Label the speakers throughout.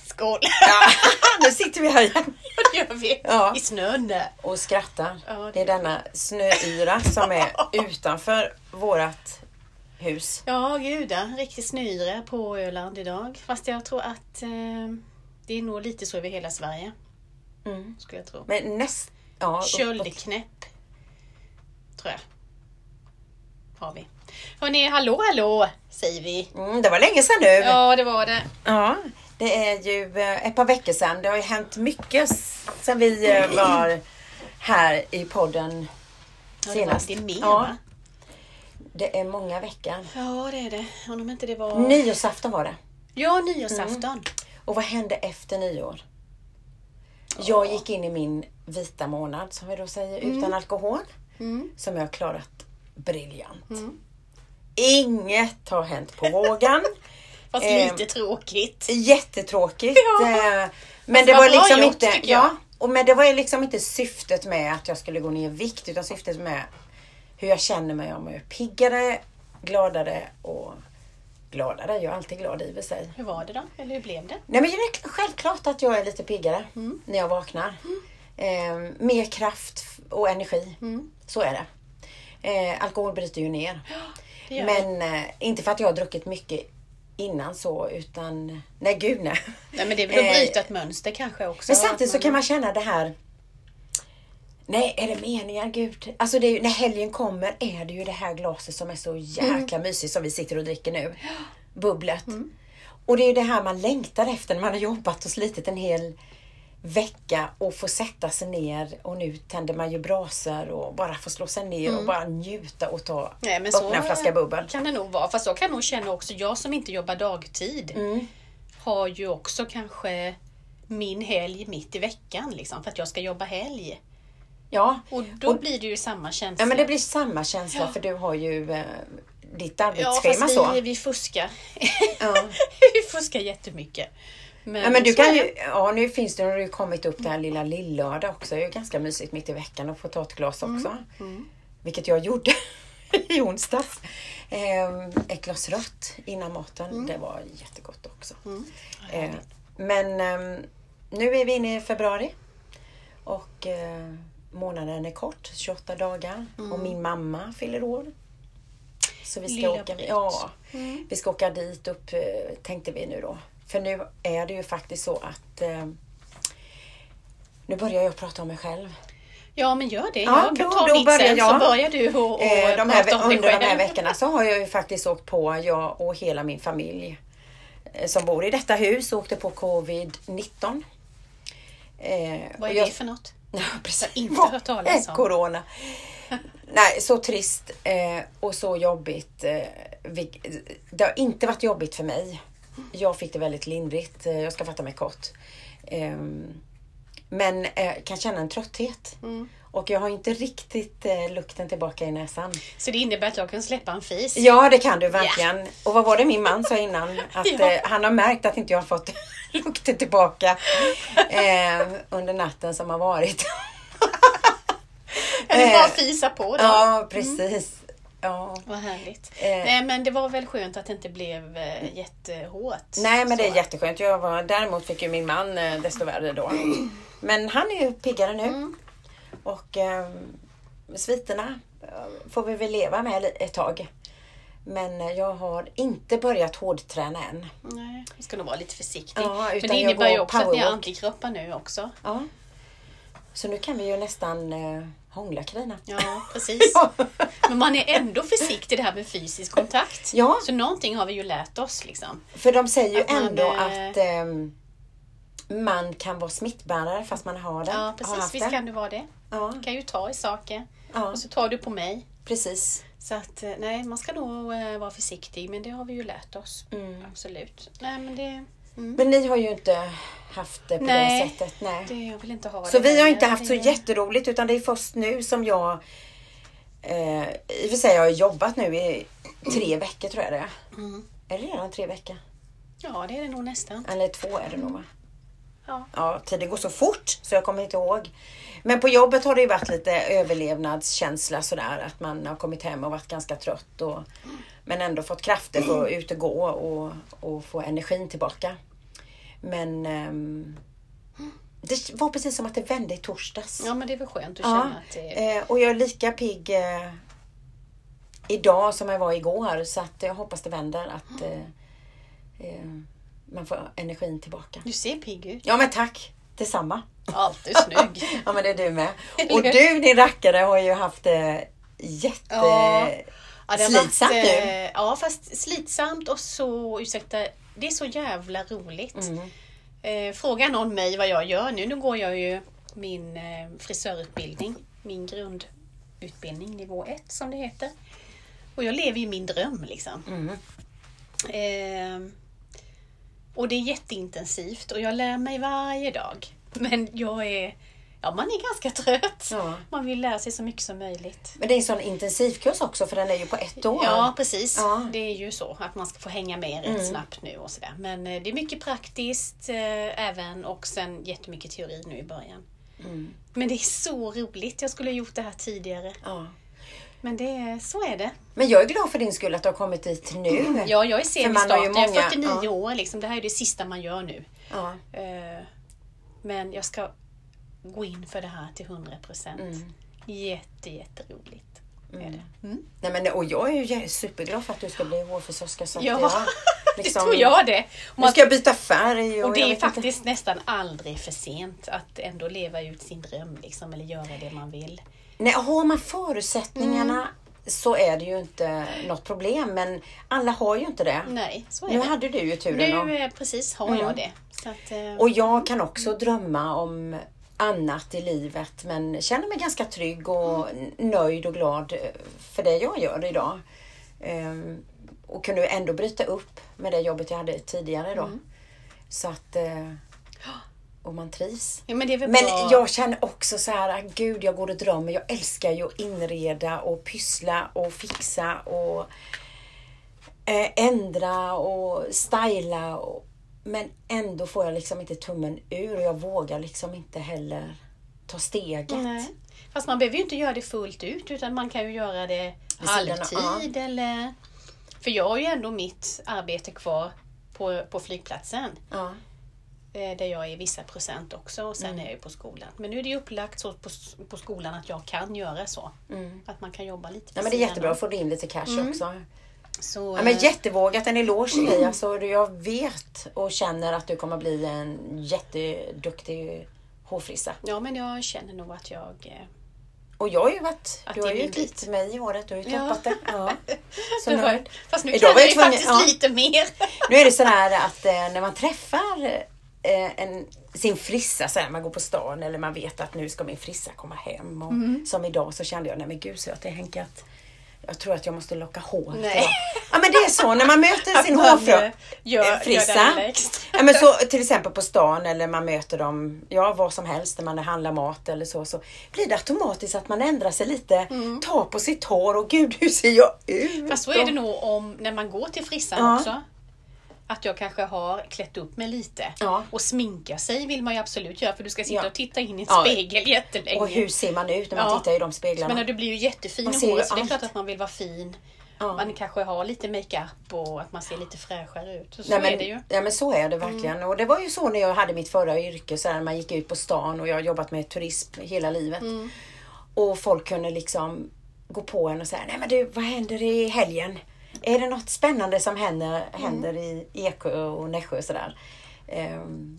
Speaker 1: skål!
Speaker 2: Ja.
Speaker 1: nu sitter vi här igen
Speaker 2: Ja, det gör vi.
Speaker 1: Ja.
Speaker 2: I snön där.
Speaker 1: och skrattar.
Speaker 2: Ja, det-
Speaker 1: det är denna snöyra som är utanför vårat hus.
Speaker 2: Ja, gud ja. Riktigt snöyra på Öland idag. Fast jag tror att eh, det är nog lite så över hela Sverige.
Speaker 1: Mm.
Speaker 2: Skulle jag tro.
Speaker 1: Men näst... Ja, uppåt.
Speaker 2: Köldknäpp. Tror jag. Har vi. Hörni, hallå hallå säger vi.
Speaker 1: Mm, det var länge sedan nu. Ja.
Speaker 2: Ja, det var det.
Speaker 1: det är ju eh, ett par veckor sedan. Det har ju hänt mycket s- sedan vi eh, var här i podden
Speaker 2: Ja, det var
Speaker 1: senast.
Speaker 2: det mer
Speaker 1: ja,
Speaker 2: va?
Speaker 1: det är många veckor.
Speaker 2: Ja, det är det. Om inte det var...
Speaker 1: Nyårsafton var det.
Speaker 2: ja, nyårsafton.
Speaker 1: Och vad hände efter nyår? Jag gick in i min vita månad som vi då säger utan alkohol.
Speaker 2: Mm.
Speaker 1: Som jag har klarat briljant. Inget har hänt på vågen.
Speaker 2: Fast
Speaker 1: Ehm,
Speaker 2: lite tråkigt.
Speaker 1: Jättetråkigt.
Speaker 2: Ja.
Speaker 1: eh, Men
Speaker 2: Fast
Speaker 1: det
Speaker 2: vad
Speaker 1: var
Speaker 2: bra
Speaker 1: liksom
Speaker 2: gjort,
Speaker 1: inte...
Speaker 2: tycker jag.
Speaker 1: Ja, och men det var liksom inte syftet med att jag skulle gå ner i vikt utan syftet med hur jag känner mig om jag är piggare, gladare och gladare. Jag är alltid glad i och för sig.
Speaker 2: Hur var det då? Eller hur blev det?
Speaker 1: Nej men det är självklart att jag är lite piggare
Speaker 2: Mm.
Speaker 1: när jag vaknar. Eh, mer kraft f- och energi.
Speaker 2: Mm.
Speaker 1: Så är det. Eh, alkohol bryter ju ner.
Speaker 2: det gör
Speaker 1: men eh, inte för att jag har druckit mycket innan så utan nej gud nej.
Speaker 2: Nej, men det är väl att
Speaker 1: Eh,
Speaker 2: bryta ett mönster kanske också.
Speaker 1: Men samtidigt så
Speaker 2: att
Speaker 1: kan man känna det här Nej, är det meningen? Gud. Alltså det är ju, när helgen kommer är det ju det här glaset som är så jäkla
Speaker 2: Mm.
Speaker 1: mysigt som vi sitter och dricker nu. Bubblet. Och det är ju det här man längtar efter när man har jobbat och slitit en hel vecka och få sätta sig ner och nu tänder man ju brasor och bara få slå sig ner och bara njuta och ta,
Speaker 2: Mm. Nej, men
Speaker 1: öppna
Speaker 2: så
Speaker 1: en flaska bubbel.
Speaker 2: kan det nog vara. Fast jag kan nog känna också, jag som inte jobbar dagtid
Speaker 1: Mm.
Speaker 2: har ju också kanske min helg mitt i veckan liksom för att jag ska jobba helg.
Speaker 1: Ja.
Speaker 2: Och då blir det ju samma känsla.
Speaker 1: ja, men det blir samma känsla för du har ju eh, ditt
Speaker 2: ja
Speaker 1: arbetsschema
Speaker 2: fast
Speaker 1: så.
Speaker 2: vi, vi fuskar.
Speaker 1: Ja.
Speaker 2: vi fuskar jättemycket. Men,
Speaker 1: Ja, men du
Speaker 2: så
Speaker 1: kan
Speaker 2: är det.
Speaker 1: ju, ja nu finns det, nu har det ju kommit upp det här lilla lillördag också. Det är ju ganska mysigt mitt i veckan att få ta ett glas
Speaker 2: Mm,
Speaker 1: också. Vilket jag gjorde i onsdags. Ehm, ett glas rött innan maten.
Speaker 2: Mm.
Speaker 1: Det var jättegott också. Ehm, men ehm, nu är vi inne i februari. Och eh, månaden är kort, 28 dagar. Och min mamma fyller år. Så vi ska,
Speaker 2: Lilla
Speaker 1: åka,
Speaker 2: Britt.
Speaker 1: ja, vi ska åka dit upp eh, tänkte vi nu då. För nu är det ju faktiskt så att eh, nu börjar jag prata om mig själv.
Speaker 2: Ja men gör det.
Speaker 1: Ja,
Speaker 2: jag
Speaker 1: då-
Speaker 2: kan ta
Speaker 1: då
Speaker 2: mitt
Speaker 1: börjar
Speaker 2: sen så
Speaker 1: jag.
Speaker 2: börjar du och, och
Speaker 1: Eh, de här,
Speaker 2: prata om
Speaker 1: ve-
Speaker 2: dig
Speaker 1: under de här
Speaker 2: själv.
Speaker 1: veckorna så har jag ju faktiskt åkt på, jag och hela min familj eh, som bor i detta hus, åkte på covid-19. Eh, och
Speaker 2: Vad är
Speaker 1: jag-
Speaker 2: det för något?
Speaker 1: Ja, precis.
Speaker 2: Jag har inte
Speaker 1: Vad
Speaker 2: hört talas
Speaker 1: är
Speaker 2: om.
Speaker 1: Corona. Nej, så trist eh, och så jobbigt. Eh, vil- det har inte varit jobbigt för mig. Jag fick det väldigt lindrigt. Eh, jag ska fatta mig kort. Ehm, men eh, kan känna en trötthet.
Speaker 2: Mm.
Speaker 1: Och jag har inte riktigt eh, lukten tillbaka i näsan.
Speaker 2: Så det innebär att jag kan släppa en fis?
Speaker 1: Ja, det kan du verkligen. Och vad var det min man sa innan? Att
Speaker 2: Ja.
Speaker 1: eh, han har märkt att inte jag har fått lukten tillbaka eh, under natten som har varit.
Speaker 2: Eller bara
Speaker 1: Eh,
Speaker 2: fisa på då. Mm.
Speaker 1: Ja, precis. Ja.
Speaker 2: Vad härligt.
Speaker 1: Eh.
Speaker 2: Nej men det var väl skönt att det inte blev eh, jättehårt.
Speaker 1: Nej, men det
Speaker 2: Så.
Speaker 1: är jätteskönt. Jag var, däremot fick ju min man eh, desto värre då. Men han är ju piggare nu.
Speaker 2: Mm.
Speaker 1: Och eh, sviterna eh, får vi väl leva med li- ett tag. Men eh, jag har inte börjat hårdträna än.
Speaker 2: Nej, jag ska nog vara lite försiktig.
Speaker 1: Ja,
Speaker 2: men
Speaker 1: utan
Speaker 2: det
Speaker 1: jag
Speaker 2: innebär ju
Speaker 1: går
Speaker 2: också att ni har
Speaker 1: powerwalk.
Speaker 2: antikroppar nu också.
Speaker 1: Ja. Så nu kan vi ju nästan eh, hångla Carina.
Speaker 2: Ja, precis.
Speaker 1: Ja.
Speaker 2: Men man är ändå försiktig i det här med fysisk kontakt.
Speaker 1: Ja.
Speaker 2: Så någonting har vi ju lärt oss liksom.
Speaker 1: För de säger ju
Speaker 2: Att man,
Speaker 1: ändå
Speaker 2: eh,
Speaker 1: att ehm, man kan vara smittbärare fast man har det.
Speaker 2: Ja,
Speaker 1: Har
Speaker 2: precis.
Speaker 1: haft
Speaker 2: Visst
Speaker 1: det.
Speaker 2: kan du vara det.
Speaker 1: Ja,
Speaker 2: Du kan ju ta i saker.
Speaker 1: ja,
Speaker 2: Och så tar du på mig.
Speaker 1: precis.
Speaker 2: Så att eh, nej, man ska nog eh, vara försiktig. Men det har vi ju lärt oss.
Speaker 1: Mm.
Speaker 2: Absolut. Nej, men det, mm.
Speaker 1: Men ni har ju inte haft det på
Speaker 2: Nej.
Speaker 1: det sättet. Nej.
Speaker 2: det jag vill inte ha
Speaker 1: Så
Speaker 2: det
Speaker 1: vi har
Speaker 2: heller.
Speaker 1: inte haft så
Speaker 2: Det-
Speaker 1: jätteroligt utan det är först nu som jag eh, I och för sig har jag jobbat nu i tre veckor tror jag det är.
Speaker 2: Mm.
Speaker 1: Är det redan tre veckor?
Speaker 2: Ja, det är det nog nästan.
Speaker 1: Eller två är det nog va?
Speaker 2: Ja.
Speaker 1: Ja, tiden går så fort så jag kommer inte ihåg. Men på jobbet har det ju varit lite överlevnadskänsla sådär att man har kommit hem och varit ganska trött och,
Speaker 2: Mm.
Speaker 1: men ändå fått krafter för att ut och gå och, och få energin tillbaka. Men ehm, det var precis som att det vände i torsdags.
Speaker 2: Ja men det är väl skönt att
Speaker 1: Ja,
Speaker 2: känna att det...
Speaker 1: eh, och jag är lika pigg eh, idag som jag var igår så att jag hoppas det vänder att eh, eh, man får energin tillbaka.
Speaker 2: Du ser pigg ut.
Speaker 1: Ja men tack! Detsamma!
Speaker 2: Alltid snygg.
Speaker 1: Ja men det är du med. Och du din rackare har ju haft det jätte...
Speaker 2: Ja. Ja, det har
Speaker 1: Slitsamt
Speaker 2: varit, eh,
Speaker 1: nu.
Speaker 2: Ja, fast slitsamt och så, ursäkta, det är så jävla roligt.
Speaker 1: Mm.
Speaker 2: Eh, frågar någon mig vad jag gör nu, nu går jag ju min eh, frisörutbildning, min grundutbildning nivå 1 som det heter. Och jag lever ju min dröm liksom.
Speaker 1: Mm.
Speaker 2: Eh, och det är jätteintensivt och jag lär mig varje dag. Men jag är, ja man är ganska trött.
Speaker 1: Ja.
Speaker 2: Man vill lära sig så mycket som möjligt.
Speaker 1: Men det är en sån intensivkurs också för den är ju på ett år.
Speaker 2: Ja, precis.
Speaker 1: Ja. Mm.
Speaker 2: Det är ju så att man ska få hänga med rätt snabbt nu och sådär. Men eh, det är mycket praktiskt eh, även och sen jättemycket teori nu i början.
Speaker 1: Mm.
Speaker 2: Men det är så roligt. Jag skulle ha gjort det här tidigare.
Speaker 1: Ja.
Speaker 2: Men det, är- så är det.
Speaker 1: Men jag är glad för din skull att du har kommit dit nu.
Speaker 2: Mm, Ja, jag är sen
Speaker 1: För
Speaker 2: i
Speaker 1: man har ju
Speaker 2: starten. Jag är
Speaker 1: många-
Speaker 2: 49
Speaker 1: ja.
Speaker 2: år liksom. Det här är det sista man gör nu.
Speaker 1: Ja.
Speaker 2: Eh, Men jag ska gå in för det här till 100 procent. Jätte, jätteroligt. Är det. Mm.
Speaker 1: Nej, men, och jag är ju jä- superglad för att du ska bli hårfrisörska. Så att
Speaker 2: Ja,
Speaker 1: jag, liksom-
Speaker 2: det tror jag det. Och man
Speaker 1: Nu ska jag byta färg.
Speaker 2: Och det
Speaker 1: jag
Speaker 2: är
Speaker 1: vet inte-
Speaker 2: faktiskt nästan aldrig för sent att ändå leva ut sin dröm liksom, eller göra det man vill.
Speaker 1: Nej, har man förutsättningarna
Speaker 2: Mm.
Speaker 1: så är det ju inte något problem. Men alla har ju inte det.
Speaker 2: Nej, så är
Speaker 1: Nu
Speaker 2: det.
Speaker 1: hade du ju turen.
Speaker 2: Nu
Speaker 1: Och,
Speaker 2: eh, precis har jag det. Så att, eh,
Speaker 1: och jag kan också drömma om annat i livet men känner mig ganska trygg och n- nöjd och glad eh, för det jag gör idag. Ehm, och kunde ändå bryta upp med det jobbet jag hade tidigare då. Så att... eh, Och man trivs.
Speaker 2: ja, men det är väl
Speaker 1: Men
Speaker 2: bra.
Speaker 1: jag känner också så här, gud jag går och drömmer. Jag älskar ju att inreda och pyssla och fixa och eh, ändra och styla. Och, men ändå får jag liksom inte tummen ur och jag vågar liksom inte heller ta steget.
Speaker 2: Nej. Fast man behöver ju inte göra det fullt ut utan man kan ju göra det
Speaker 1: Vid sidan av,
Speaker 2: halvtid eller... För jag har ju ändå mitt arbete kvar på, på flygplatsen.
Speaker 1: Ja.
Speaker 2: eh, där jag är vissa procent också och sen
Speaker 1: Mm.
Speaker 2: är jag ju på skolan. Men nu är det ju upplagt så på, på skolan att jag kan göra så. Att man kan jobba lite
Speaker 1: Mm. Ja,
Speaker 2: vid
Speaker 1: men det är
Speaker 2: sidan
Speaker 1: jättebra
Speaker 2: om.
Speaker 1: att få in lite cash också.
Speaker 2: Så,
Speaker 1: Ja, men
Speaker 2: Mm. eh,
Speaker 1: jättevågat, en eloge till dig. Alltså, du- jag vet och känner att du kommer bli en jätteduktig hårfrissa.
Speaker 2: eh, ja, men jag känner nog att jag... eh,
Speaker 1: Och jag har ju varit,
Speaker 2: Att
Speaker 1: du
Speaker 2: det
Speaker 1: har
Speaker 2: är
Speaker 1: ju
Speaker 2: min
Speaker 1: klippt
Speaker 2: bit.
Speaker 1: mig i håret, du har ju
Speaker 2: Ja.
Speaker 1: toppat det. Ja. Så
Speaker 2: det har-
Speaker 1: nöjd.
Speaker 2: Fast nu
Speaker 1: Idag
Speaker 2: kan
Speaker 1: var
Speaker 2: jag ju
Speaker 1: jag tvungen-
Speaker 2: faktiskt
Speaker 1: ja.
Speaker 2: lite mer.
Speaker 1: Nu är det sådär att eh, när man träffar eh, en, sin frissa, så här, man går på stan eller man vet att nu ska min frissa komma hem. Och,
Speaker 2: Mm.
Speaker 1: Som idag så kände jag, nej men gud så jag till Henke att jag tror att jag måste locka hår.
Speaker 2: Nej.
Speaker 1: idag. Ja men det är så, när man möter sin
Speaker 2: Att man,
Speaker 1: hårfrö
Speaker 2: eh, gör- gör
Speaker 1: eh, frissa.
Speaker 2: den lägst.
Speaker 1: Ja, men så, till exempel på stan eller man möter dem, ja vad som helst när man handlar mat eller så, så blir det automatiskt att man ändrar sig lite, tar på sitt hår och gud hur ser jag ut?
Speaker 2: Mm. Fast så är det nog om när man går till frissan
Speaker 1: Mm, Ja.
Speaker 2: också. Att jag kanske har klätt upp mig lite.
Speaker 1: Ja.
Speaker 2: Och sminka sig vill man ju absolut göra för du ska sitta
Speaker 1: Ja.
Speaker 2: och titta in i en
Speaker 1: Ja.
Speaker 2: spegel jättelänge.
Speaker 1: Och hur ser man ut när man
Speaker 2: Ja.
Speaker 1: tittar i de
Speaker 2: Jag
Speaker 1: speglarna?
Speaker 2: menar, du blir ju jättefin
Speaker 1: Man
Speaker 2: i
Speaker 1: ser ju
Speaker 2: håret så det är
Speaker 1: allt.
Speaker 2: klart att man vill vara fin.
Speaker 1: Ja.
Speaker 2: Man kanske har lite makeup och att man ser lite fräschare ut. Och så
Speaker 1: Nej, men,
Speaker 2: är det ju. Mm.
Speaker 1: Ja men så är det verkligen. Och det var ju så när jag hade mitt förra yrke, så här, när man gick ut på stan och jag har jobbat med turism hela livet.
Speaker 2: Mm.
Speaker 1: Och folk kunde liksom gå på en och säga, nej men du vad händer i helgen? Är det något spännande som händer,
Speaker 2: Mm.
Speaker 1: händer i Eksjö och Nässjö och sådär? Ehm,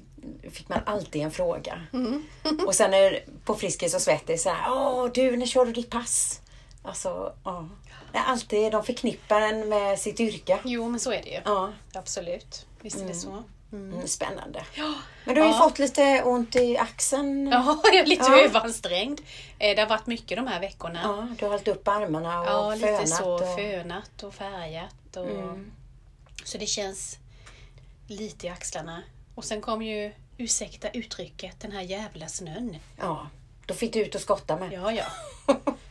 Speaker 1: fick man alltid en fråga.
Speaker 2: Mm.
Speaker 1: Och sen är, på Friskis och Svettis så här, åh du när kör du ditt pass? Alltså, ja. Det är Alltid, de förknippar en med sitt yrke.
Speaker 2: Jo, men så är det ju.
Speaker 1: Ja.
Speaker 2: Absolut. Visst är det så.
Speaker 1: Mm, spännande. Men du har ju fått lite ont i axeln. Ja.
Speaker 2: Ja, jag är lite
Speaker 1: Ja.
Speaker 2: överansträngd. Eh, Det har varit mycket de här veckorna. Ja,
Speaker 1: du har hållit upp armarna och fönat.
Speaker 2: lite så
Speaker 1: och... Mm.
Speaker 2: fönat och färgat. Och... Så det känns lite i axlarna. Och sen kom ju, ursäkta uttrycket, den här jävla snön.
Speaker 1: Ja, då fick du ut och skotta med.
Speaker 2: Ja, ja.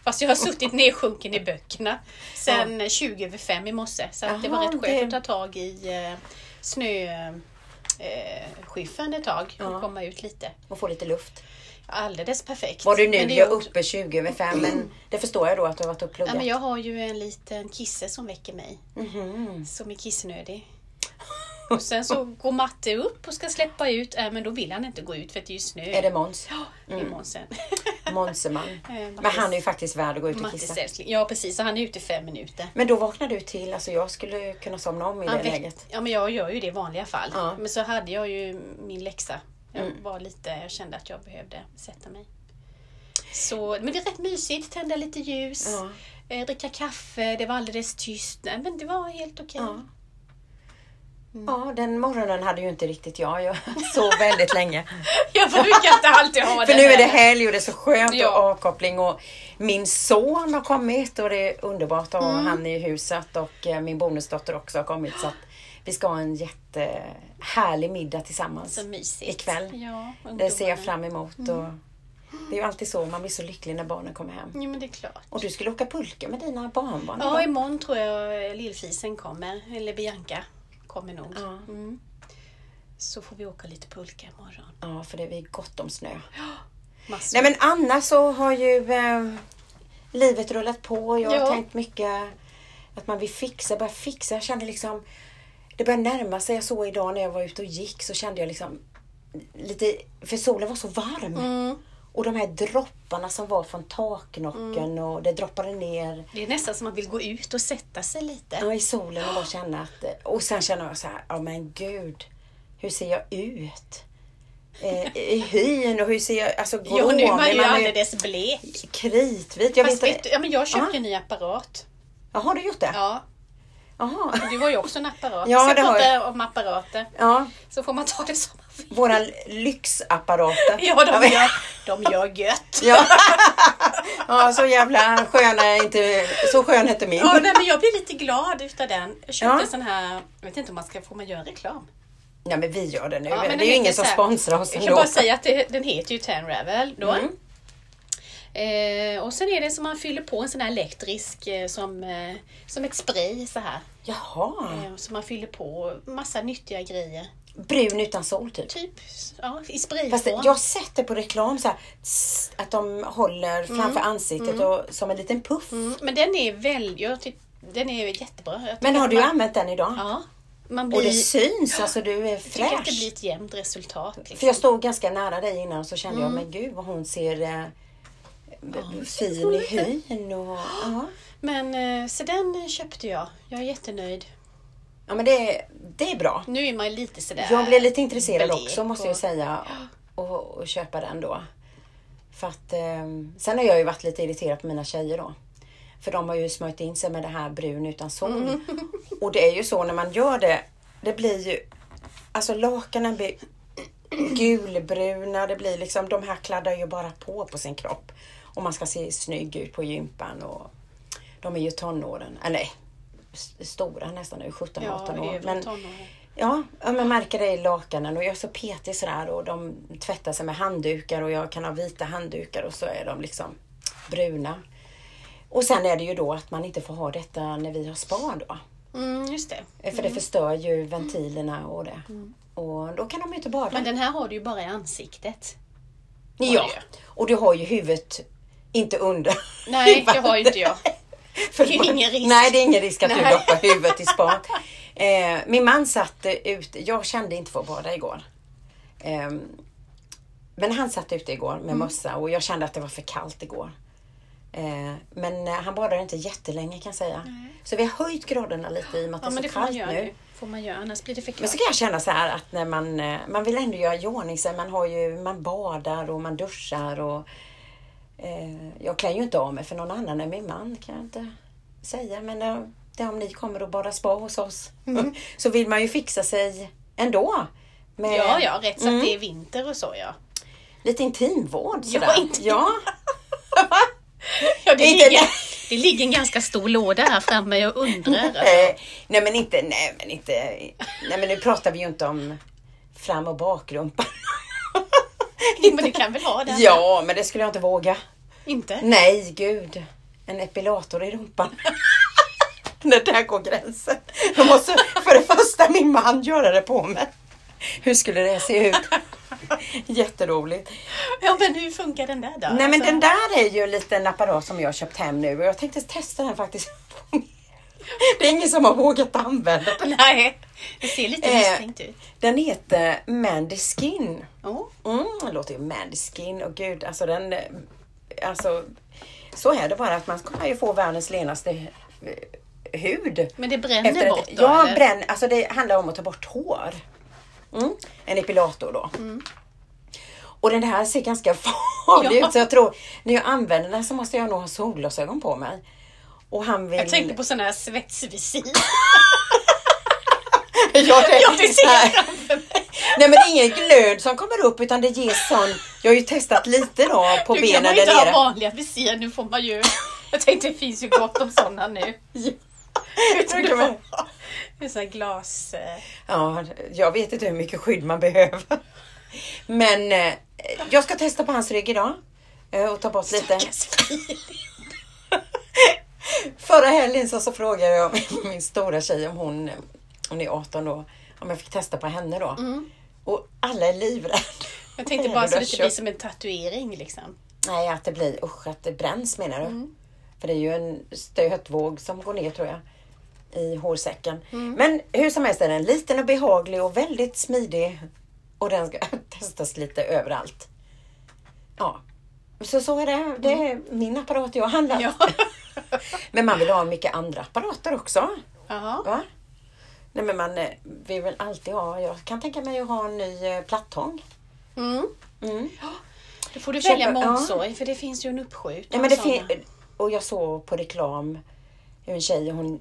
Speaker 2: Fast jag har suttit nedsjunken i böckerna sen 20 över fem i morse. Så att det var
Speaker 1: Jaha,
Speaker 2: rätt skönt
Speaker 1: det-
Speaker 2: att ta tag i eh, snöskyffen eh, skyffen ett tag och komma ut lite.
Speaker 1: Och få lite luft.
Speaker 2: Alldeles perfekt.
Speaker 1: Var du nu
Speaker 2: Men det är
Speaker 1: jag
Speaker 2: också-
Speaker 1: uppe 20 över 5 men det förstår jag då att du har varit och
Speaker 2: Ja,
Speaker 1: pluggat.
Speaker 2: men
Speaker 1: Mhm.
Speaker 2: jag har ju en liten kisse som väcker mig. Som är kissnödig. Och sen så går matte upp och ska släppa ut, äh, men då vill han inte gå ut för att det är ju snö.
Speaker 1: Är det Måns?
Speaker 2: Ja, det är Äh, Månsen.
Speaker 1: Månseman?
Speaker 2: Eh,
Speaker 1: Men han är ju faktiskt värd att gå ut och
Speaker 2: Mattis
Speaker 1: kissa.
Speaker 2: älskling. Ja precis, så han är ute i fem minuter.
Speaker 1: Men då vaknar du till, alltså jag skulle kunna somna om i
Speaker 2: Han
Speaker 1: det
Speaker 2: väck-
Speaker 1: läget.
Speaker 2: Ja men jag gör ju det i vanliga fall.
Speaker 1: Ja. Mm.
Speaker 2: Men så hade jag ju min läxa. Jag var lite, jag kände att jag behövde sätta mig. Så, men det är rätt mysigt, tända lite ljus,
Speaker 1: Ja.
Speaker 2: eh, dricka kaffe, det var alldeles tyst. Nej, men det var helt okej.
Speaker 1: Ja. Ja, den morgonen hade ju inte riktigt jag. Jag sov väldigt länge.
Speaker 2: Jag brukar inte alltid ha
Speaker 1: För
Speaker 2: den
Speaker 1: nu är det
Speaker 2: här.
Speaker 1: helg och det är så skönt
Speaker 2: Ja.
Speaker 1: och avkoppling och min son har kommit och det är underbart att ha han i huset och eh, min bonusdotter också har kommit så att vi ska ha en jättehärlig middag tillsammans
Speaker 2: Så mysigt.
Speaker 1: ikväll.
Speaker 2: Ja,
Speaker 1: Det ser jag
Speaker 2: ungdomarna.
Speaker 1: fram emot och det är ju alltid så, man blir så lycklig när barnen kommer hem.
Speaker 2: Jo men det är klart.
Speaker 1: Och du skulle åka pulka med dina barnbarn
Speaker 2: Ja,
Speaker 1: idag.
Speaker 2: imorgon tror jag lillfisen kommer. Eller Bianca kommer nog.
Speaker 1: Ja.
Speaker 2: Mm. Så får vi åka lite pulka imorgon.
Speaker 1: Ja, för det är gott om snö. Nej
Speaker 2: Massor.
Speaker 1: men annars så har ju eh, livet rullat på. Jag har
Speaker 2: Ja.
Speaker 1: tänkt mycket att man vill fixa, börja fixa. Jag kände liksom, det börjar närma sig. Jag såg idag när jag var ute och gick så kände jag liksom lite, för solen var så varm.
Speaker 2: Mm.
Speaker 1: Och de här dropparna som var från taknocken
Speaker 2: Mm.
Speaker 1: och det droppade ner
Speaker 2: Det är nästan som att man vill gå ut och sätta sig lite.
Speaker 1: ja, i solen och bara känna att... Och sen känner jag så här, ja men gud, hur ser jag ut? Eh, I hyn och hur ser jag, alltså grå?
Speaker 2: Ja, nu är man
Speaker 1: men
Speaker 2: ju alldeles blek.
Speaker 1: kritvit. Jag
Speaker 2: Fast
Speaker 1: vet
Speaker 2: vet
Speaker 1: inte.
Speaker 2: du, ja, men jag köpte
Speaker 1: Ja.
Speaker 2: en ny apparat.
Speaker 1: Jaha, har du gjort det?
Speaker 2: Ja,
Speaker 1: Jaha.
Speaker 2: du har ju också en apparat.
Speaker 1: Ja,
Speaker 2: Vi
Speaker 1: det
Speaker 2: ska
Speaker 1: har
Speaker 2: prata om apparater.
Speaker 1: Ja,
Speaker 2: Så får man ta det som man vill.
Speaker 1: våra lyxapparater.
Speaker 2: Ja, de gör, de gör gött.
Speaker 1: Ja. ja, så jävla skön är inte, så skön heter min.
Speaker 2: Ja, nej, men jag blir lite glad utav den. Jag köpte
Speaker 1: Ja.
Speaker 2: en sån här, jag vet inte om man ska, får man göra reklam?
Speaker 1: Nej men vi gör det nu.
Speaker 2: Ja, men
Speaker 1: det är
Speaker 2: den
Speaker 1: ju
Speaker 2: heter
Speaker 1: ingen som
Speaker 2: så här-
Speaker 1: sponsrar oss Mm.
Speaker 2: Jag kan bara säga att det, den heter ju Tanravel då. Eh, och sen är det som man fyller på en sån här elektrisk eh, som, eh, som ett spray så här.
Speaker 1: Jaha,
Speaker 2: Eh, som man fyller på massa nyttiga grejer.
Speaker 1: brun utan sol typ.
Speaker 2: Typ ja, i
Speaker 1: Fast
Speaker 2: sprayform.
Speaker 1: jag har sett det på reklam så här, tss, att de håller framför ansiktet och, som en liten puff.
Speaker 2: Mm, Men den är väl, jag tyck, den är jättebra. Jag
Speaker 1: Men
Speaker 2: tycker
Speaker 1: har
Speaker 2: att
Speaker 1: du
Speaker 2: man,
Speaker 1: använt den idag?
Speaker 2: Ja. Man blir,
Speaker 1: Och det syns, alltså du är
Speaker 2: jag tycker att det blir
Speaker 1: fräsch.
Speaker 2: ett jämnt resultat.
Speaker 1: För
Speaker 2: Liksom.
Speaker 1: jag stod ganska nära dig innan och så kände jag, men gud vad hon ser eh, b- fin i hyn och... Ja.
Speaker 2: Men eh, så den köpte jag. Jag är jättenöjd.
Speaker 1: Ja men det, det är bra.
Speaker 2: Nu är man ju lite sådär...
Speaker 1: Jag blev lite intresserad
Speaker 2: blek
Speaker 1: också måste jag
Speaker 2: och-
Speaker 1: säga och, och köpa den då. För att, ehm, sen har jag ju varit lite irriterad på mina tjejer då. För de har ju smörjt in sig med det här brun utan sol.
Speaker 2: Mm.
Speaker 1: Och det är ju så när man gör det, det blir ju, alltså lakanen blir gulbruna, det blir liksom, de här kladdar ju bara på på sin kropp. Och man ska se snygg ut på gympan och de är ju tonåren, eller nej, s- stora nästan nu, 17-18
Speaker 2: Ja,
Speaker 1: år.
Speaker 2: övre tonåren.
Speaker 1: Ja, ja, man märker det i lakanen och jag är så petig sådär och de tvättar sig med handdukar och jag kan ha vita handdukar och så är de liksom bruna. Och sen är det ju då att man inte får ha detta när vi har spa då.
Speaker 2: Mm, just det.
Speaker 1: För det förstör ju ventilerna och det. Och då kan de ju inte bada.
Speaker 2: Men den här har du ju bara i ansiktet.
Speaker 1: ja, och du har ju huvudet inte under.
Speaker 2: Nej, det har ju inte jag.
Speaker 1: För
Speaker 2: Det är ju ingen risk.
Speaker 1: Nej, det är ingen risk att du
Speaker 2: Nej.
Speaker 1: doppar huvudet i spat. Eh, min man satt eh, ute, jag kände inte för att bada igår. Ehm, men han satt ute igår
Speaker 2: Mm.
Speaker 1: med mössa och jag kände att det var för kallt igår. Eh, men eh, han badade inte jättelänge kan jag säga. Så vi har höjt graderna lite i och med att
Speaker 2: Ja,
Speaker 1: det är
Speaker 2: men det
Speaker 1: så
Speaker 2: får man
Speaker 1: kallt
Speaker 2: göra
Speaker 1: nu.
Speaker 2: nu. Får man göra, annars blir det för
Speaker 1: Men
Speaker 2: klart.
Speaker 1: så kan jag känna så här att när man, eh, man vill ändå göra i ordning sig. Man, har ju, man badar och man duschar och eh, jag klär ju inte av mig för någon annan än min man kan jag inte säga. Men eh, det är om ni kommer och badar spa hos oss
Speaker 2: Mm-hmm.
Speaker 1: så vill man ju fixa sig ändå. Med
Speaker 2: Ja, ja, rätt så
Speaker 1: Mm.
Speaker 2: att det är vinter och så ja.
Speaker 1: lite intimvård sådär.
Speaker 2: inte-
Speaker 1: ja.
Speaker 2: ja det,
Speaker 1: Inte-
Speaker 2: ligger, det ligger en ganska stor låda här framme, jag undrar.
Speaker 1: Eh, nej men inte, nej men inte, nej men nu pratar vi ju inte om fram och bakrumpan.
Speaker 2: Jo, men du kan väl ha den?
Speaker 1: Ja, men det skulle jag inte våga.
Speaker 2: Inte?
Speaker 1: Nej, gud. En epilator i rumpan. det där går gränsen. Då måste för det första min man göra det på mig. Hur skulle det se ut? Jätteroligt.
Speaker 2: Ja, men hur funkar den där då?
Speaker 1: Nej men
Speaker 2: Alltså,
Speaker 1: den där är ju en liten apparat som jag har köpt hem nu och jag tänkte testa den faktiskt. Det är ingen som har vågat använda den.
Speaker 2: Nej, det ser lite
Speaker 1: Eh.
Speaker 2: misstänkt ut.
Speaker 1: Den heter Mandy Skin.
Speaker 2: Oh.
Speaker 1: Mm, det låter ju Mandy Skin och gud, alltså den... eh, Alltså, så är det bara att man kommer ju få världens lenaste eh, hud.
Speaker 2: Men det bränner
Speaker 1: Efter
Speaker 2: bort
Speaker 1: ett,
Speaker 2: då?
Speaker 1: ja,
Speaker 2: eller?
Speaker 1: bränn, alltså det handlar om att ta bort hår. Mm. En epilator då.
Speaker 2: Mm.
Speaker 1: Och den här ser ganska farlig
Speaker 2: Ja.
Speaker 1: ut så jag tror när jag använder den så måste jag nog ha solglasögon på mig. Och han vill...
Speaker 2: Jag tänkte på sån här svetsvisir.
Speaker 1: ja, det,
Speaker 2: Jag vill se
Speaker 1: nej.
Speaker 2: framför mig.
Speaker 1: nej men det är ingen glöd som kommer upp utan det ger sån... Jag har ju testat lite då på
Speaker 2: Nu kan
Speaker 1: benen där
Speaker 2: man ju inte ha
Speaker 1: nere.
Speaker 2: vanliga visir, nu får man ju... Jag tänkte det finns ju gott om sådana nu.
Speaker 1: det kan man.
Speaker 2: Det är sån här glas... eh,
Speaker 1: Ja, jag vet inte hur mycket skydd man behöver. Men eh, jag ska testa på hans rygg idag. eh, Och ta bort lite.
Speaker 2: stackars fil.
Speaker 1: Förra helgen så, så frågade jag min, min stora tjej om hon, hon är 18 då, om jag fick testa på henne då.
Speaker 2: Mm.
Speaker 1: Och alla är livrädda.
Speaker 2: Jag tänkte
Speaker 1: Du
Speaker 2: bara så
Speaker 1: har
Speaker 2: att det blir
Speaker 1: köpt-
Speaker 2: som en tatuering liksom.
Speaker 1: Nej, att det blir, usch, att det bränns menar du? För det är ju en stötvåg som går ner tror jag. I hårsäcken. Men hur som helst är den liten och behaglig och väldigt smidig. Och den ska testas lite överallt. Ja. Så så är det. Det är min apparat jag har handlat.
Speaker 2: Ja.
Speaker 1: Men man vill ha mycket andra apparater också.
Speaker 2: Jaha.
Speaker 1: Va? Nej men man eh, vill väl alltid ha, jag kan tänka mig att ha en ny eh, plattång.
Speaker 2: Mm.
Speaker 1: Mm.
Speaker 2: Då får du
Speaker 1: Köpa-
Speaker 2: välja
Speaker 1: ja.
Speaker 2: månsåg, för det finns ju en uppskjuten
Speaker 1: Nej, men det
Speaker 2: sån.
Speaker 1: fin- och jag såg på reklam hur en tjej hon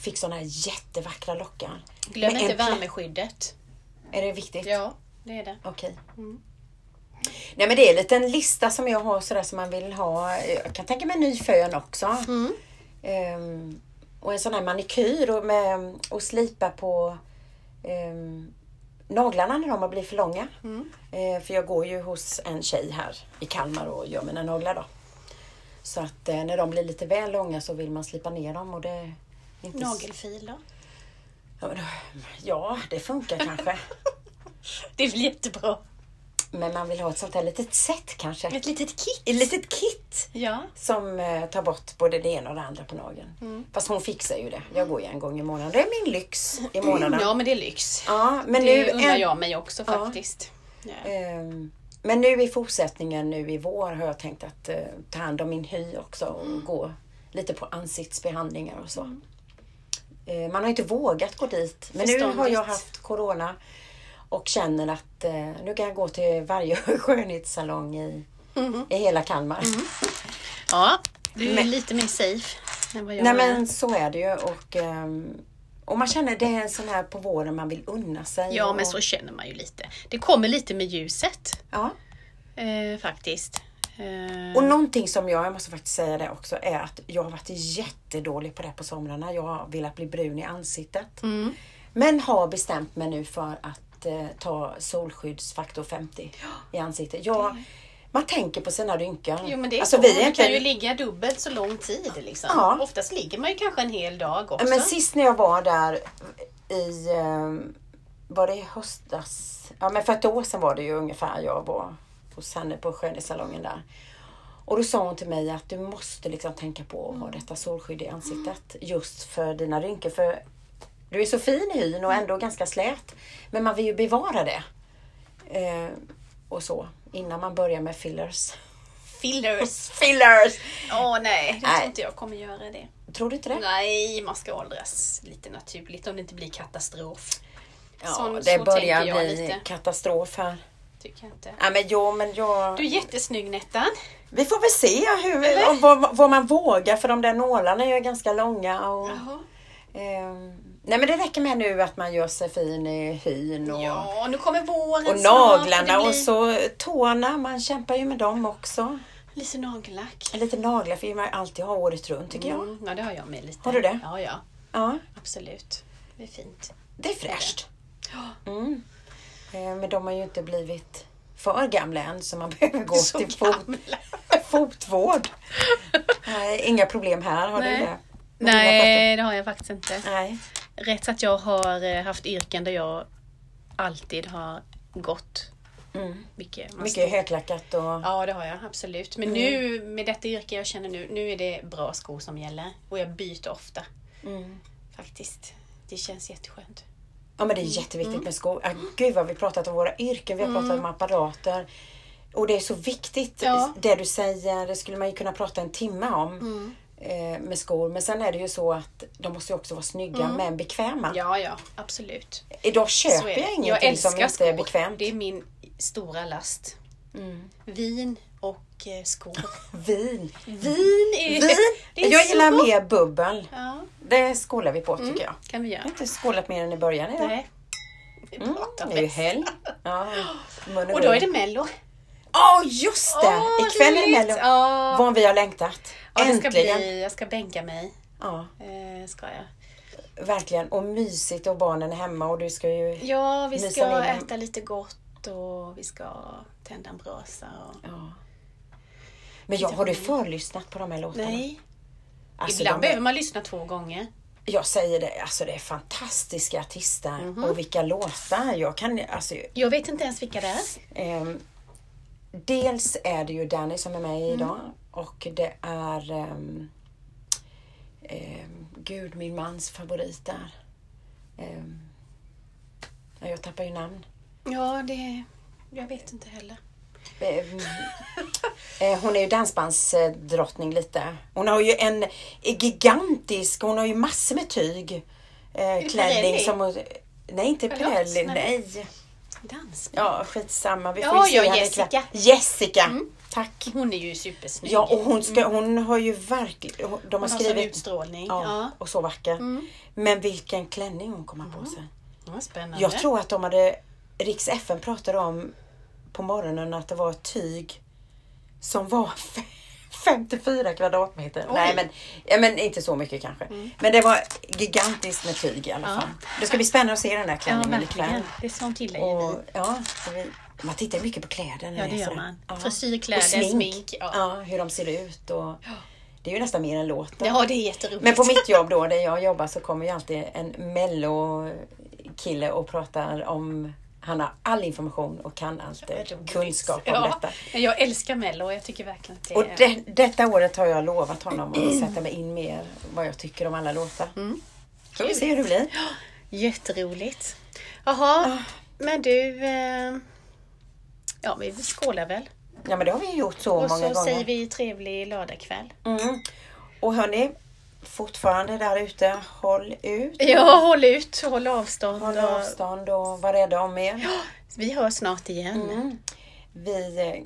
Speaker 1: fick sådana här jättevackra lockar.
Speaker 2: Glöm
Speaker 1: Med
Speaker 2: inte
Speaker 1: en platt-
Speaker 2: värmeskyddet.
Speaker 1: Är det viktigt?
Speaker 2: Ja, det är det.
Speaker 1: Okej. Nej men det är en liten lista som jag har sådär som man vill ha. Jag kan tänka mig en ny fön också. Ehm, och en sån här manikyr och, med, och slipa på ehm, naglarna när de har blivit för långa.
Speaker 2: Mm.
Speaker 1: Eh, för jag går ju hos en tjej här i Kalmar och gör mina naglar då. Så att eh, när de blir lite väl långa så vill man slipa ner dem och det är inte s-
Speaker 2: Nagelfil då?
Speaker 1: Ja, men, ja, det funkar kanske.
Speaker 2: Det är väl jättebra.
Speaker 1: Men man vill ha ett sånt här litet set kanske.
Speaker 2: Ett litet kick.
Speaker 1: ett litet kit
Speaker 2: Ja.
Speaker 1: som eh, tar bort både det ena och det andra på nageln.
Speaker 2: Mm.
Speaker 1: Fast hon fixar ju det. Jag går ju en gång i månaden. Det är min lyx i månaden.
Speaker 2: Mm, Ja, men det är lyx.
Speaker 1: Ja, men nu,
Speaker 2: det undrar
Speaker 1: en-
Speaker 2: jag mig också
Speaker 1: Ja.
Speaker 2: faktiskt. Ja.
Speaker 1: Ehm, men nu i fortsättningen nu i vår har jag tänkt att eh, ta hand om min hy också och
Speaker 2: Mm.
Speaker 1: gå lite på ansiktsbehandlingar och så. Eh, man har inte vågat gå dit. Men nu har
Speaker 2: Förståndigt.
Speaker 1: jag haft corona och känner att eh, nu kan jag gå till varje skönhetssalong i,
Speaker 2: Mm-hmm.
Speaker 1: i hela Kalmar.
Speaker 2: Mm. ja, du är
Speaker 1: Men-
Speaker 2: lite mer safe än vad jag
Speaker 1: Nej
Speaker 2: är.
Speaker 1: men så är det ju och, ehm, och man känner det är en sån här på våren man vill unna sig.
Speaker 2: Ja, men
Speaker 1: och,
Speaker 2: så känner man ju lite. Det kommer lite med ljuset
Speaker 1: Ja.
Speaker 2: eh, faktiskt. Eh,
Speaker 1: Och någonting som jag, jag måste faktiskt säga det också, är att jag har varit jättedålig på det på somrarna. Jag har velat bli brun i ansiktet.
Speaker 2: Mm.
Speaker 1: Men har bestämt mig nu för att eh, ta solskyddsfaktor 50 i ansiktet. Jag, man tänker på sina rynkor.
Speaker 2: Jo men det är
Speaker 1: alltså,
Speaker 2: så.
Speaker 1: vi
Speaker 2: Du
Speaker 1: är
Speaker 2: kan ju
Speaker 1: inte...
Speaker 2: ligga dubbelt så lång tid. Liksom.
Speaker 1: Ja.
Speaker 2: Oftast ligger man ju kanske en hel dag också.
Speaker 1: Men sist när jag var där i, eh, var det i höstas? Ja men för ett år sedan var det ju ungefär jag var hos henne på skönhetssalongen där. Och då sa hon till mig att du måste liksom tänka på att ha
Speaker 2: Mm.
Speaker 1: detta solskydd i ansiktet just för dina rynkor. För du är så fin i hyn och
Speaker 2: Mm.
Speaker 1: ändå ganska slät. Men man vill ju bevara det. Eh, och så innan man börjar med fillers.
Speaker 2: Fillers.
Speaker 1: Fillers!
Speaker 2: Åh nej, jag tror
Speaker 1: Nej.
Speaker 2: inte jag kommer göra det.
Speaker 1: Tror du inte det?
Speaker 2: Nej, man ska åldras lite naturligt om det inte blir katastrof.
Speaker 1: Ja,
Speaker 2: Sån-
Speaker 1: det
Speaker 2: så
Speaker 1: börjar
Speaker 2: tänker jag
Speaker 1: bli
Speaker 2: lite.
Speaker 1: katastrof här.
Speaker 2: Tycker jag inte.
Speaker 1: Ja, men jo, men jag...
Speaker 2: Du är jättesnygg Nettan.
Speaker 1: Vi får väl se hur,
Speaker 2: Eller?
Speaker 1: om, vad, vad man vågar för de där nålarna är ju ganska långa. Och,
Speaker 2: Jaha.
Speaker 1: ehm, nej men det räcker med nu att man gör sig fin i hyn och,
Speaker 2: Ja, nu kommer våren
Speaker 1: och
Speaker 2: snart,
Speaker 1: naglarna
Speaker 2: det blir
Speaker 1: och så tårna. Man kämpar ju med dem också.
Speaker 2: Lite nagellack.
Speaker 1: Lite naglar får ju man alltid ha året runt tycker jag.
Speaker 2: Mm, ja, det har jag med lite.
Speaker 1: Har du det?
Speaker 2: Ja, ja.
Speaker 1: Ja,
Speaker 2: Absolut. Det är fint.
Speaker 1: det är fräscht. Mm. Ehm, men de har ju inte blivit för gamla än så man behöver gå
Speaker 2: Så
Speaker 1: till fot,
Speaker 2: gamla.
Speaker 1: fotvård. Nej, inga problem här, har
Speaker 2: Nej.
Speaker 1: du det? Med dina fötter?
Speaker 2: Nej, det har jag faktiskt inte.
Speaker 1: Nej.
Speaker 2: Rätt så att jag har eh, haft yrken där jag alltid har gått
Speaker 1: Mm.
Speaker 2: mycket. Man
Speaker 1: Mycket Mm. högklackat och...
Speaker 2: Ja, det har jag absolut. Men nu med detta yrke jag känner nu, nu är det bra skor som gäller. Och jag byter ofta.
Speaker 1: Mm.
Speaker 2: faktiskt. Det känns jätteskönt.
Speaker 1: Ja men det
Speaker 2: Mm.
Speaker 1: är jätteviktigt med skor. Ah, gud vad vi pratat om våra yrken, vi har pratat om apparater. Och det är så viktigt.
Speaker 2: Mm. Ja.
Speaker 1: Det du säger, det skulle man ju kunna prata en timme om.
Speaker 2: Mm.
Speaker 1: eh, Med skor. Men sen är det ju så att de måste ju också vara snygga men bekväma.
Speaker 2: Mm. Ja, ja, absolut.
Speaker 1: Idag
Speaker 2: Så
Speaker 1: köper
Speaker 2: är det.
Speaker 1: jag ingenting som inte
Speaker 2: skor.
Speaker 1: är bekvämt. Mm.
Speaker 2: Det är min stora last. Vin och eh, skor.
Speaker 1: Vin.
Speaker 2: Vin är,
Speaker 1: Vin!
Speaker 2: det är
Speaker 1: jag
Speaker 2: så
Speaker 1: gillar
Speaker 2: gott.
Speaker 1: mer bubbel.
Speaker 2: Ja,
Speaker 1: Det skålar vi på tycker jag.
Speaker 2: kan vi göra.
Speaker 1: Jag har inte skålat mer än i början idag.
Speaker 2: Nej. Vi pratar
Speaker 1: Mm, Det är ju
Speaker 2: mest.
Speaker 1: helg. Ja. mun
Speaker 2: Och då är det Mello.
Speaker 1: Ja, just det!
Speaker 2: Åh,
Speaker 1: Ikväll är det
Speaker 2: roligt!
Speaker 1: Mello.
Speaker 2: Ja.
Speaker 1: Vad vi har längtat.
Speaker 2: Ja, det ska
Speaker 1: Äntligen!
Speaker 2: bli, jag ska bänka mig.
Speaker 1: Ja,
Speaker 2: Eh, ska jag.
Speaker 1: verkligen. Och mysigt och barnen är hemma och du ska ju...
Speaker 2: Ja, vi
Speaker 1: Mysa
Speaker 2: ska
Speaker 1: med dem.
Speaker 2: äta lite gott och vi ska tända en brasa. Och...
Speaker 1: Ja. Men jag, har du förlyssnat på de här låtarna?
Speaker 2: Nej,
Speaker 1: Alltså,
Speaker 2: ibland
Speaker 1: de är,
Speaker 2: behöver man lyssna två gånger.
Speaker 1: jag säger det, alltså det är fantastiska artister
Speaker 2: Mhm.
Speaker 1: och vilka låtar. Jag kan alltså...
Speaker 2: Jag vet inte ens vilka det är.
Speaker 1: ehm, dels är det ju Danny som är
Speaker 2: Mm.
Speaker 1: med idag och det är... ehm, ehm, Gud, min mans favorit där. Ehm, ja, jag tappar ju namn.
Speaker 2: Ja, det... Jag vet inte heller.
Speaker 1: Eh, eh, Hon är ju dansbandsdrottning lite. Hon har ju en gigantisk, hon har ju massor med tyg. Eh, klänning
Speaker 2: Pirelli?
Speaker 1: som hon, Nej, inte
Speaker 2: Förlåt,
Speaker 1: Pirelli.
Speaker 2: nej.
Speaker 1: Nej.
Speaker 2: Dans.
Speaker 1: Ja, skitsamma. Vi får
Speaker 2: Ja,
Speaker 1: ju se
Speaker 2: ja,
Speaker 1: henne
Speaker 2: Jessica. Mm.
Speaker 1: ikväll. Jessica! Tack.
Speaker 2: Hon är ju supersnygg.
Speaker 1: Ja, och hon, ska, hon har ju verkligen... hon- De har
Speaker 2: Mm. hon har sån
Speaker 1: skrivit...
Speaker 2: utstrålning.
Speaker 1: Ja,
Speaker 2: Ja. Mm.
Speaker 1: och så vacker. Men vilken klänning hon kommer på sig.
Speaker 2: ja. Spännande.
Speaker 1: Jag tror att de hade, Riks FN pratade om på morgonen att det var ett tyg som var 54 kvadratmeter.
Speaker 2: Oj. Mm.
Speaker 1: Nej men, ja, men inte så mycket kanske. Men det var gigantiskt med tyg i alla
Speaker 2: Ja.
Speaker 1: fall. Det ska bli spännande att se den här
Speaker 2: Ja,
Speaker 1: klänningen ikväll.
Speaker 2: verkligen. Det är sånt gillar ju
Speaker 1: Och,
Speaker 2: vi.
Speaker 1: ja, så vi, man tittar mycket på kläder. när
Speaker 2: Ja, det gör
Speaker 1: sådär.
Speaker 2: man. Frisyr, kläder,
Speaker 1: Och
Speaker 2: smink,
Speaker 1: Ja.
Speaker 2: ja.
Speaker 1: hur de ser ut. Och, det är ju nästan mer än låten.
Speaker 2: Ja, det är jätteroligt.
Speaker 1: Men på mitt jobb då, där jag jobbar, så kommer ju alltid en mello-kille och pratar om han har all information och kan allt eh,
Speaker 2: Roligt.
Speaker 1: kunskap om
Speaker 2: ja.
Speaker 1: detta.
Speaker 2: men Jag älskar Mello och jag tycker verkligen att det
Speaker 1: Och
Speaker 2: är...
Speaker 1: det, detta året har jag lovat honom att sätta mig in mer vad jag tycker om alla låtar.
Speaker 2: Mm.
Speaker 1: Får vi se hur det blir.
Speaker 2: Jätteroligt.
Speaker 1: Ah.
Speaker 2: Jaha, men du... eh, Ja, vi skålar väl.
Speaker 1: Ja men det har vi gjort så
Speaker 2: Och så
Speaker 1: många gånger.
Speaker 2: säger vi trevlig lördagkväll.
Speaker 1: Mm. Och hörni, fortfarande där ute, håll ut.
Speaker 2: Ja, håll ut, håll avstånd.
Speaker 1: Håll
Speaker 2: och...
Speaker 1: avstånd och var rädda om er.
Speaker 2: Vi hörs snart igen.
Speaker 1: Mm. Vi eh,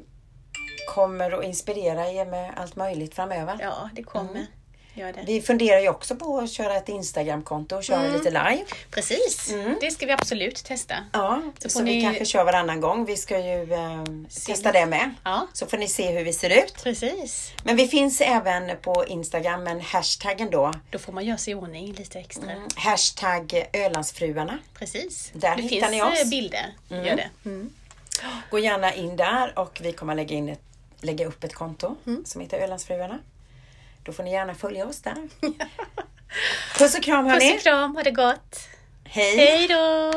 Speaker 1: kommer att inspirera er med allt möjligt framöver.
Speaker 2: Ja, det kommer. Gör det.
Speaker 1: Vi funderar ju också på att köra ett Instagramkonto och köra lite live.
Speaker 2: Precis,
Speaker 1: Mm.
Speaker 2: det ska vi absolut testa.
Speaker 1: Ja, så,
Speaker 2: Så får
Speaker 1: vi
Speaker 2: ni-
Speaker 1: kanske kör varannan gång. Vi ska ju eh, testa det med.
Speaker 2: Ja,
Speaker 1: Så får ni se hur vi ser ut.
Speaker 2: precis.
Speaker 1: Men vi finns även på Instagram, men hashtaggen då.
Speaker 2: Då får man göra sig i ordning lite extra.
Speaker 1: Hashtag Ölandsfruarna.
Speaker 2: Precis.
Speaker 1: Mm. Där
Speaker 2: det
Speaker 1: hittar
Speaker 2: finns
Speaker 1: ni
Speaker 2: eh,
Speaker 1: oss. Mm.
Speaker 2: bilder. Gör det.
Speaker 1: Gå gärna in där och vi kommer lägga, in ett, lägga upp ett konto som heter Ölandsfruarna. Då får ni gärna följa oss där. Puss och kram hörni.
Speaker 2: Puss och kram, ha det gott.
Speaker 1: Hej.
Speaker 2: Hej då!